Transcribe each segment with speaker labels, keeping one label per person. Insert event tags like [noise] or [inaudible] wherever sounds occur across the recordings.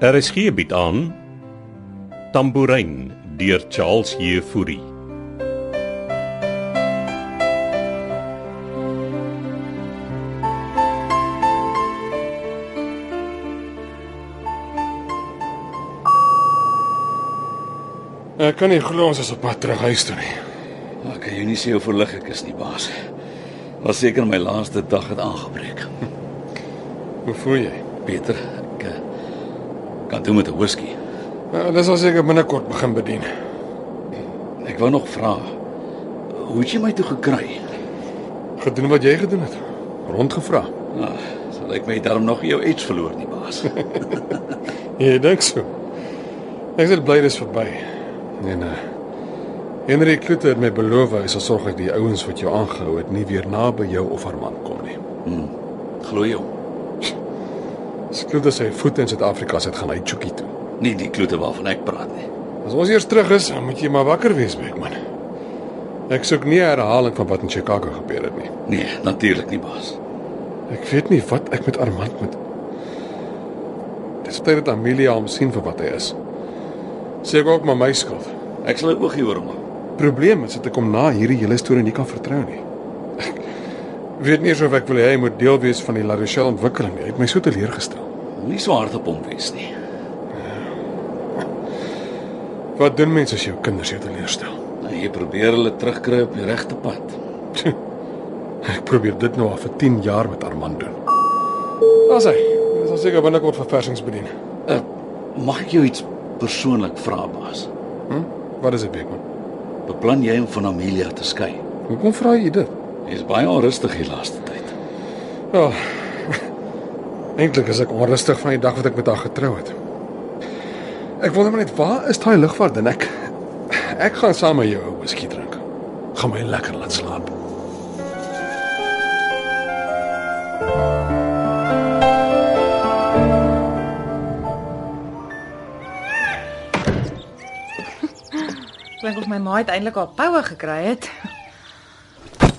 Speaker 1: RSG bied Er aan Tambourin deur Charles Jefouri.
Speaker 2: Ek kan nie glo ons is op pad terug huis toe nie.
Speaker 3: Ek kan jou nie sê hoe verlig ek is nie, baas. Was seker my laaste dag het aangebreek.
Speaker 2: Hoe voel jy?
Speaker 3: Peter, ek eh, kan toe met 'n whisky.
Speaker 2: Nou, dis al seker binnekort begin bedien.
Speaker 3: Ek wou nog vra, hoe het jy my toe gekry?
Speaker 2: Gedoen wat jy gedoen het. Rondgevra.
Speaker 3: Nou, sal ek my darm nog nie jou edge verloor nie, baas.
Speaker 2: Jy dink so. Ek is net bly dis verby. Nee nee. Henry Kloete het my beloof hy sal sorg dat die ouens wat jou aangehou het nie weer naby jou of haar man kom nie.
Speaker 3: Glo jou.
Speaker 2: As Kloete sy voet in Suid-Afrika sit gaan hy Tjoekie toe.
Speaker 3: Nie die klote waarvan ek praat nie.
Speaker 2: As ons eers terug is, dan moet jy maar wakker wees, Beckman. Ek soek nie 'n herhaling van wat in Chicago gebeur het nie.
Speaker 3: Nee, natuurlik nie, baas.
Speaker 2: Ek weet nie wat ek met Armand moet. Dis tyd dat Amelia hom sien vir wat hy is. Seker ook maar my skuld.
Speaker 3: Ek sal 'n oogie oor hom hou.
Speaker 2: Probleem is dat ek hom na hierdie hele storie nie kan vertrou nie. Ek weet nie eens of ek wil hê hy moet deel wees van die La Rochelle ontwikkeling nie. Hy het my so teleurgestel.
Speaker 3: Moenie so hard op hom wees nie.
Speaker 2: Wat doen mense as jou kinders jou teleurstel?
Speaker 3: Nou, jy probeer hulle terugkry op die regte pad.
Speaker 2: Ek probeer dit nou al vir 10 jaar met Armand doen. Daar's hy. Dis al seker binnekort verversings bedien.
Speaker 3: Uh, mag ek jou iets persoonlik vra, baas?
Speaker 2: Hm? Wat is dit, Beekman?
Speaker 3: Beplan jy om van Amelia te skei?
Speaker 2: Hoekom vra jy dit?
Speaker 3: Hy is baie onrustig die laaste tyd.
Speaker 2: Ja. Eintlik is ek onrustig van die dag wat ek met haar getrou het. Ek wonder maar net waar is daai ligvaart en ek ek gaan saam met jou 'n whisky drink. Gaan my lekker laat slaap.
Speaker 4: Klink of my ma uiteindelik haar poue gekry het.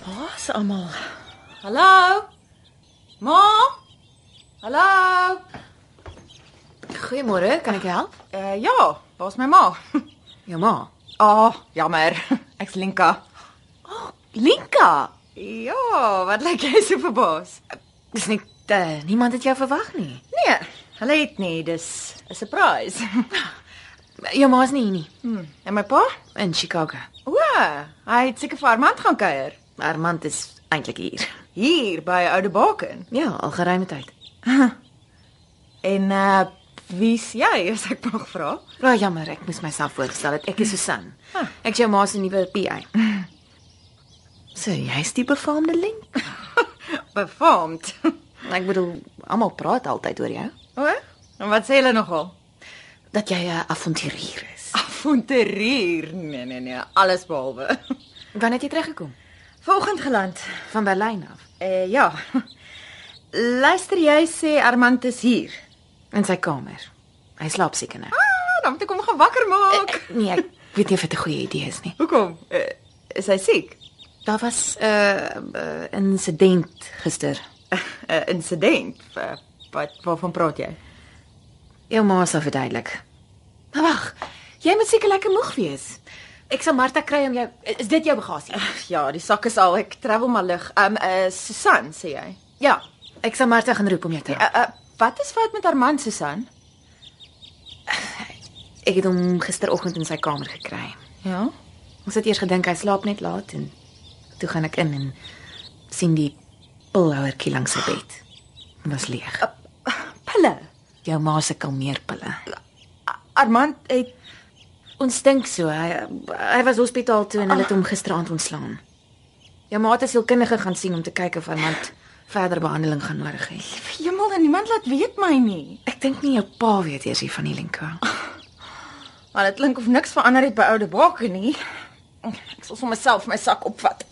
Speaker 4: Waar's almal? Hallo? Ma? Hallo?
Speaker 5: Goeiemôre, kan ek jou help?
Speaker 4: Uh, ja, waar's my ma?
Speaker 5: Jou ma.
Speaker 4: Ah, oh, jammer. Ek's Linka.
Speaker 5: Oh, Linka.
Speaker 4: Ja, wat lyk jy so verbaas?
Speaker 5: Dis nie uh, niemand het jou verwag nie.
Speaker 4: Nee, hulle het nie, dis 'n surprise. [laughs]
Speaker 5: Jou ma's nie hier nie,
Speaker 4: Hm, en my pa?
Speaker 5: in Chicago.
Speaker 4: O, hy het seker vir Armand gaan kuier.
Speaker 5: Armand is eintlik hier.
Speaker 4: Hier by Oude Baken.
Speaker 5: Ja, al geruime tyd.
Speaker 4: En uh wie's jy as ek mag vra?
Speaker 5: Nou jammer, ek moes myself voorstel dat ek is Susan.
Speaker 4: Ah.
Speaker 5: Ek is jou ma se nuwe PA. [laughs] So, jy's die befaamde Link.
Speaker 4: Befaamd. [laughs]
Speaker 5: Ek bedoel, almal praat altyd oor jou
Speaker 4: O, en wat sê hulle nogal?
Speaker 5: dat jy 'n avonturier is.
Speaker 4: Avonturier. Nee nee nee, alles behalwe. [laughs]
Speaker 5: Wanneer het jy teruggekom?
Speaker 4: Vanoggend geland.
Speaker 5: Van Berlyn af.
Speaker 4: Eh ja. [laughs] Luister jy sê Armand is hier.
Speaker 5: In sy kamer. Hy slaap seker nou.
Speaker 4: Ah, dan moet ek hom gaan wakker maak.
Speaker 5: Ek- Nee, ek weet nie of dit 'n goeie idee is nie.
Speaker 4: Hoekom? Eh, is hy siek? [laughs]
Speaker 5: Daar was 'n uh, uh, insident gister.
Speaker 4: 'n uh, Insident. Eh, Wat waarvan praat jy?
Speaker 5: Jou ma sal verduidelik. Maar wag, jy moet seker lekker moeg wees. Ek sal Martha kry om jou is dit jou bagasie?
Speaker 4: Ja, die sak is al. Ek travel maar lig. Um eh Susan sê jy.
Speaker 5: Ja, ek sal Martha gaan roep om jou te help.
Speaker 4: Eh eh wat is fout met Armand Susan?
Speaker 5: Ek het hom gisteroggend in sy kamer gekry.
Speaker 4: Ja.
Speaker 5: Ons het eers gedink hy slaap net laat en toe gaan ek in en sien die pilhouertjie langs sy bed. Dit was leeg.
Speaker 4: Pille.
Speaker 5: Jou ma se kalmeerpille.
Speaker 4: Armand het
Speaker 5: Ons dink so. Hy hy was hospitaal toe en hulle het hom gisteraand ontslaan. Jou ma het 'n sielkundige gaan sien om te kyk of iemand verder behandeling gaan nodig het.
Speaker 4: hemel en niemand laat weet my nie.
Speaker 5: Ek dink nie jou pa weet eers hier van die
Speaker 4: [laughs]
Speaker 5: Linka.
Speaker 4: Maar dit klink of niks verander het by oude Baker nie. Ek sal sommer self my sak opvat.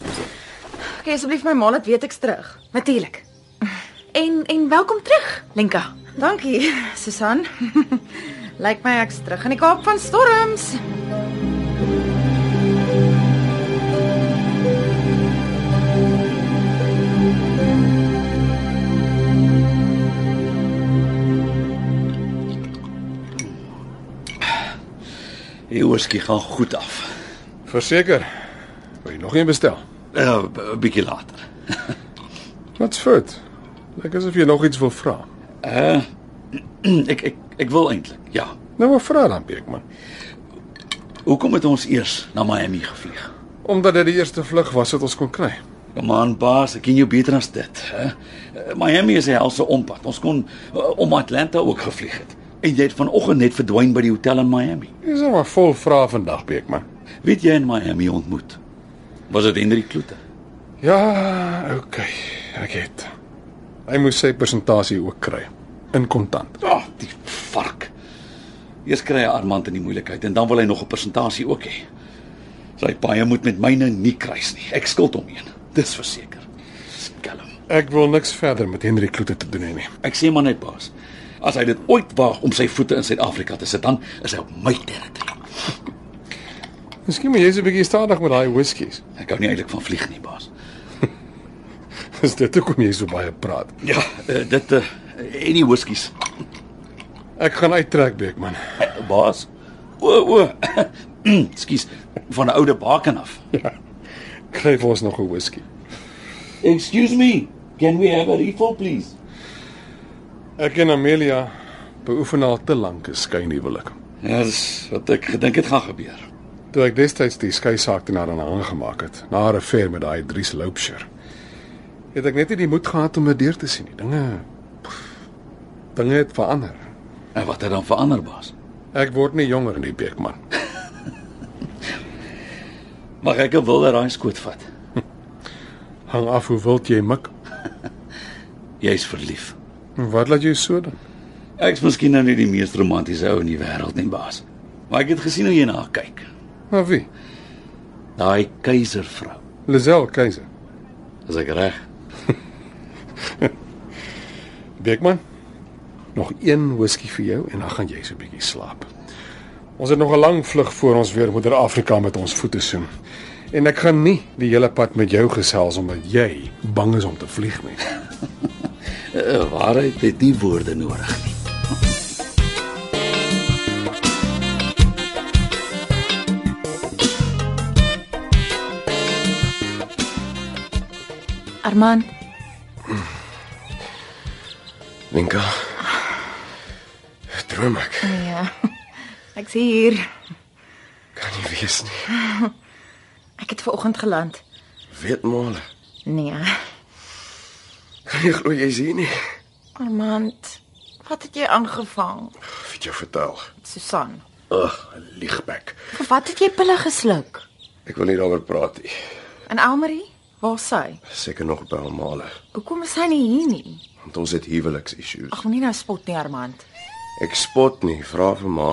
Speaker 4: Okay, asseblief my ma laat weet ek's terug.
Speaker 5: Natuurlik. En en welkom terug, Linka.
Speaker 4: Dankie, Susan. [laughs] Lyk my ek's terug in die Kaap van storms.
Speaker 3: Die whisky gaan goed af.
Speaker 2: Verseker. Wil jy nog een bestel?
Speaker 3: Ja, 'n bietjie later.
Speaker 2: Wat's fout? Lyk asof jy nog iets wil vra.
Speaker 3: Uh Hm, ek ek ek wil eintlik. Ja.
Speaker 2: Nou maar vra dan, Beekman.
Speaker 3: Hoekom het ons eers na Miami gevlieg?
Speaker 2: Omdat dit die eerste vlug was wat ons kon kry.
Speaker 3: Kom aan baas, ek ken jou beter as dit, hè. Eh, Miami is 'n helse ompad. Ons kon eh, om Atlanta ook gevlieg het. En jy het vanoggend net verdwyn by die hotel in Miami.
Speaker 2: Dis nou maar vol vrae vandag, Beekman.
Speaker 3: Wie het jy in Miami ontmoet? Was dit Henry Kloete?
Speaker 2: Ja, okay. Ek het. Hy moes sy persentasie ook kry in kontant.
Speaker 3: Ag, oh, die vark. Eers kry hy Armand in die moeilikheid en dan wil hy nog 'n persentasie ook hê. Sy paai moet met myne nie kruis nie. Ek skuld hom een. Dis verseker. Skelm.
Speaker 2: Ek wil niks verder met Henry Kloete te doen hê nie.
Speaker 3: Ek sê maar net baas. As hy dit ooit waag om sy voete in Suid-Afrika te sit, dan is hy op my territorium.
Speaker 2: Miskien moet jy so 'n bietjie stadig met daai whiskies. [laughs]
Speaker 3: Ek hou nie eintlik van vlieg nie, baas.
Speaker 2: Is dit hoekom jy so baie praat?
Speaker 3: Ja, eh, dit eh, en die whiskies.
Speaker 2: Ek gaan uittrek, Beekman. [laughs]
Speaker 3: Eh, Baas. O, o. [clears throat] Ekskuus, van 'n oude baken af.
Speaker 2: Ja. Kry vir ons nog 'n whisky.
Speaker 3: Excuse me. Can we have a refill please?
Speaker 2: Ek en Amelia beoefen al te lank 'n skynhuwelik.
Speaker 3: Ja, dis wat ek gedink het gaan gebeur.
Speaker 2: Toe ek destyds die skeisaak teen haar aan hang gemaak het, na haar affair met daai Dries Loupsher, het ek net nie die moed gehad om dit deur te sien nie. Dinge pff, dinge het verander.
Speaker 3: En wat het dan verander, baas?
Speaker 2: Ek word nie jonger in die Beekman. [laughs]
Speaker 3: Mag ek 'n wilde raai skoot vat?
Speaker 2: Hang af hoe wild jy mik.
Speaker 3: Jy's verlief.
Speaker 2: En Wat laat jou so dan?
Speaker 3: Ek's miskien nou nie die mees romantiese ou in die wêreld nie, baas. Maar ek het gesien hoe jy na haar kyk.
Speaker 2: Maar wie?
Speaker 3: Daai keiservrou.
Speaker 2: Lisel Keiser.
Speaker 3: Is ek reg?
Speaker 2: Beekman. Nog een whisky vir jou en dan gaan jy so 'n bietjie slaap. Ons het nog 'n lang vlug voor ons weer moeder Afrika met ons voete soen. En ek gaan nie die hele pad met jou gesels omdat jy bang is om te vlieg nie.
Speaker 3: Eh, Waarheid het nie woorde nodig nie.
Speaker 5: Armand,
Speaker 2: Linka. Droom ek.
Speaker 4: Ja. Ek's hier.
Speaker 2: Kan nie wees nie.
Speaker 4: Ek het ver oggend geland.
Speaker 2: Weet maar.
Speaker 4: Nee.
Speaker 2: Kan jy glo jy's hier nie?
Speaker 4: Armand, wat het jy aangevang?
Speaker 2: Of het jou vertel.
Speaker 4: Susan,
Speaker 2: Ag, liegbek.
Speaker 5: vir wat het jy pille gesluk?
Speaker 2: Ek wil nie daaroor praat nie.
Speaker 4: en Elmarie, waar is sy?
Speaker 2: Seker nog by almal.
Speaker 4: Hoekom is sy nie hier nie?
Speaker 2: Want ons het huweliksissues.
Speaker 4: Ag, moenie nou spot nie, Armand.
Speaker 2: Ek spot nie, vra vir ma.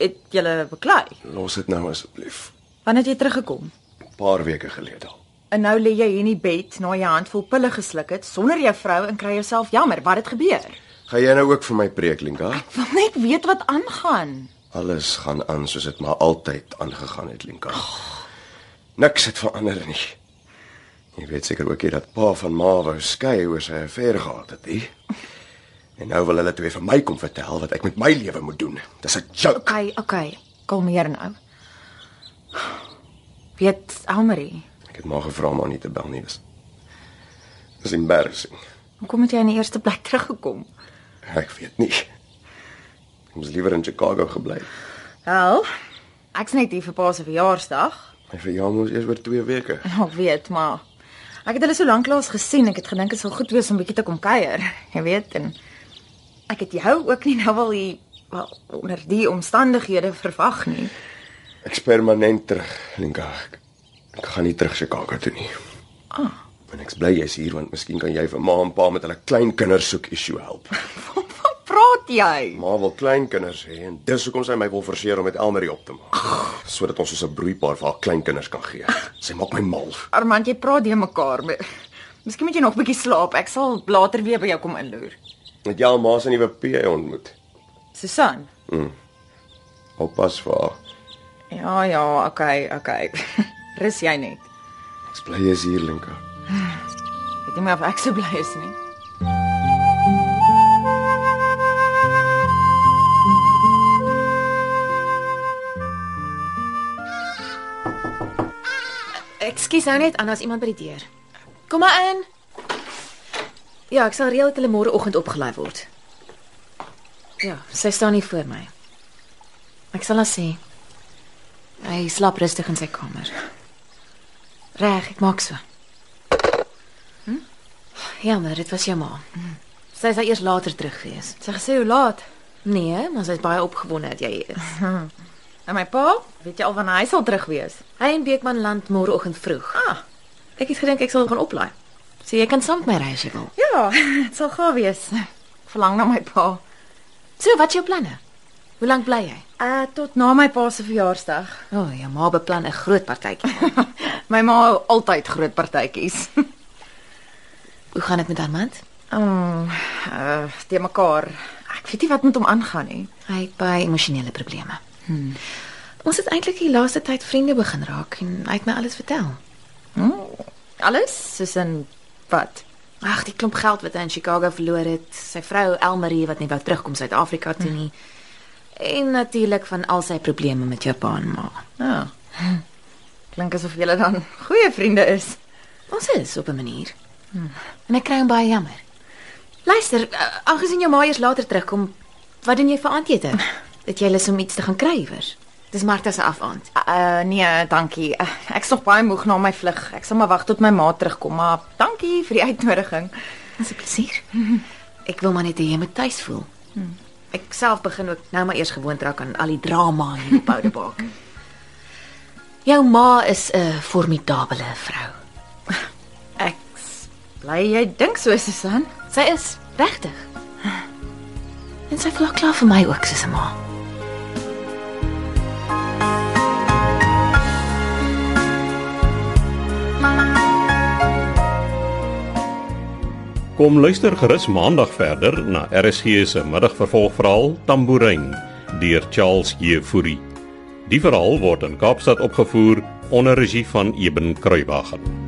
Speaker 4: Het julle beklei?
Speaker 2: Los dit nou asseblief.
Speaker 4: Wanneer het jy teruggekom?
Speaker 2: 'n Paar weke gelede al.
Speaker 4: En nou lê jy hier in die bed na jy 'n handvol pille gesluk het sonder jou vrou en kry jouself jammer. Wat het gebeur?
Speaker 6: Gaan jy nou ook vir my preek, Linka?
Speaker 4: Wil net weet wat aangaan.
Speaker 6: Alles gaan aan soos dit maar altyd aangegaan het, Linka. Niks het verander nie. Jy weet seker ook jy dat pa van ma wou skei oor sy affair gehad het, hè? En nou wil hulle twee vir my kom vertel wat ek met my lewe moet doen. Dis 'n joke.
Speaker 4: Okay, okay. Kalmeer nou. Weet Elmarie,
Speaker 6: Ek het maar gevra om haar nie te bel nie, dis. Dis embarrassing.
Speaker 4: hoekom het jy in die eerste plek teruggekom?
Speaker 6: Ek weet nie. Ek moes liewer in Chicago gebly. het.
Speaker 4: Wel, ek's net hier vir pa se verjaarsdag.
Speaker 6: My verjaardag moes eers oor 2 weke.
Speaker 4: Ja, ek weet, maar ek het hulle so lank lank gesien. Ek het gedink dit sal goed wees om bietjie te kom kuier, [laughs] jy weet, en ek het jou ook nie nou al hier wel onder die omstandighede verwag nie. [laughs]
Speaker 6: Ek's permanent terug, Linka. Ek, ek gaan nie terug Chicago toe nie. Ah. En ek's bly jy's hier want miskien kan jy vir ma en pa met hulle kleinkinders soek issue help.
Speaker 4: Wat praat jy?
Speaker 6: Ma wil kleinkinders hê en dis hoekom sy my wil forceer om met Elmarie op te maak, sodat ons soos 'n broeipaar vir haar kleinkinders kan gee. Sy maak my mal.
Speaker 4: Armand, jy praat de mekaar. Me- Miskien moet jy nog bietjie slaap. Ek sal later weer by jou kom inloer.
Speaker 6: Het jy al ma se nuwe PA ontmoet?
Speaker 4: Susan.
Speaker 6: Oppas vir haar.
Speaker 4: Ja, ja, okay, okay. [laughs] Rus jy net.
Speaker 6: Ek's bly jy's hier, Linka.
Speaker 4: Weet nie meer of ek so bly is nie.
Speaker 5: Ekskuus nou net, Anna, as iemand by die deur. Kom maar in. Ja, ek sal reël dat hulle môreoggend opgelaai word. Ja, sy staan hier voor my. Ek sal haar sê. Hy slaap rustig in sy kamer. Reg, ek maak so. Hm? Jammer, dit was jou ma. Hm. Sy sal eers later terug wees.
Speaker 4: Sy gesê hoe laat?
Speaker 5: Nee, maar sy's baie opgewonde dat jy hier is.
Speaker 4: En my pa, weet jy al wanneer hy sal terug wees?
Speaker 5: Hy en Beekman land môreoggend vroeg.
Speaker 4: Ah,
Speaker 5: Ek het gedink ek sal gaan oplaai. So jy kan saam met my ry as jy wil.
Speaker 4: ja, [laughs] dit sal gaaf wees. Ek verlang na my pa.
Speaker 5: So, wat is jou planne? Hoe lank bly jy?
Speaker 4: Uh tot na my pa se verjaarsdag.
Speaker 5: O, oh, jou ma beplan 'n groot partytjie.
Speaker 4: [laughs] my ma hou altyd groot [laughs] partytjies.
Speaker 5: [laughs] Hoe gaan dit met Armand?
Speaker 4: Mm, uh, te mekaar. Ek weet nie wat met hom aangaan nie.
Speaker 5: Hy het baie emosionele probleme. Hmm. Ons het eintlik die laaste tyd vriende begin raak en hy het my alles vertel.
Speaker 4: Alles soos in wat?
Speaker 5: Ag, die klomp geld wat hy in Chicago verloor het, sy vrou Elmarie wat nie wou terugkom Suid-Afrika toe nie. En natuurlik van al sy probleme met jou pa en ma.
Speaker 4: Ja. Klink asof julle dan [laughs] goeie vriende is.
Speaker 5: Ons is op 'n manier. Hmm. En ek kry hom baie jammer. Luister, eh, aangesien jou ma eers later terugkom, wat doen jy vir [laughs] aandete? Het jy lus om iets te gaan kry iewers? Dis Martha se afaand.
Speaker 4: Uh nee, dankie. Uh, ek's nog baie moeg na my vlug. Ek sal maar wag tot my ma terugkom, maar dankie vir die uitnodiging.
Speaker 5: Dis 'n plesier. Ek wil maar net hê jy moet tuis voel. Ek self begin ook nou maar eers gewoond raak aan al die drama hier op Oudebaak. [laughs] Jou ma is 'n formidabele vrou.
Speaker 4: Ek bly jy dink so, Susan.
Speaker 5: Sy is regtig. En sy voel ook klaar vir my ook soos 'n ma.
Speaker 1: Kom luister gerus maandag verder na RSG se middagvervolgverhaal Tambourine deur Charles Jefouri. Die verhaal word in Kaapstad opgevoer onder regie van Eben Kruiwagen.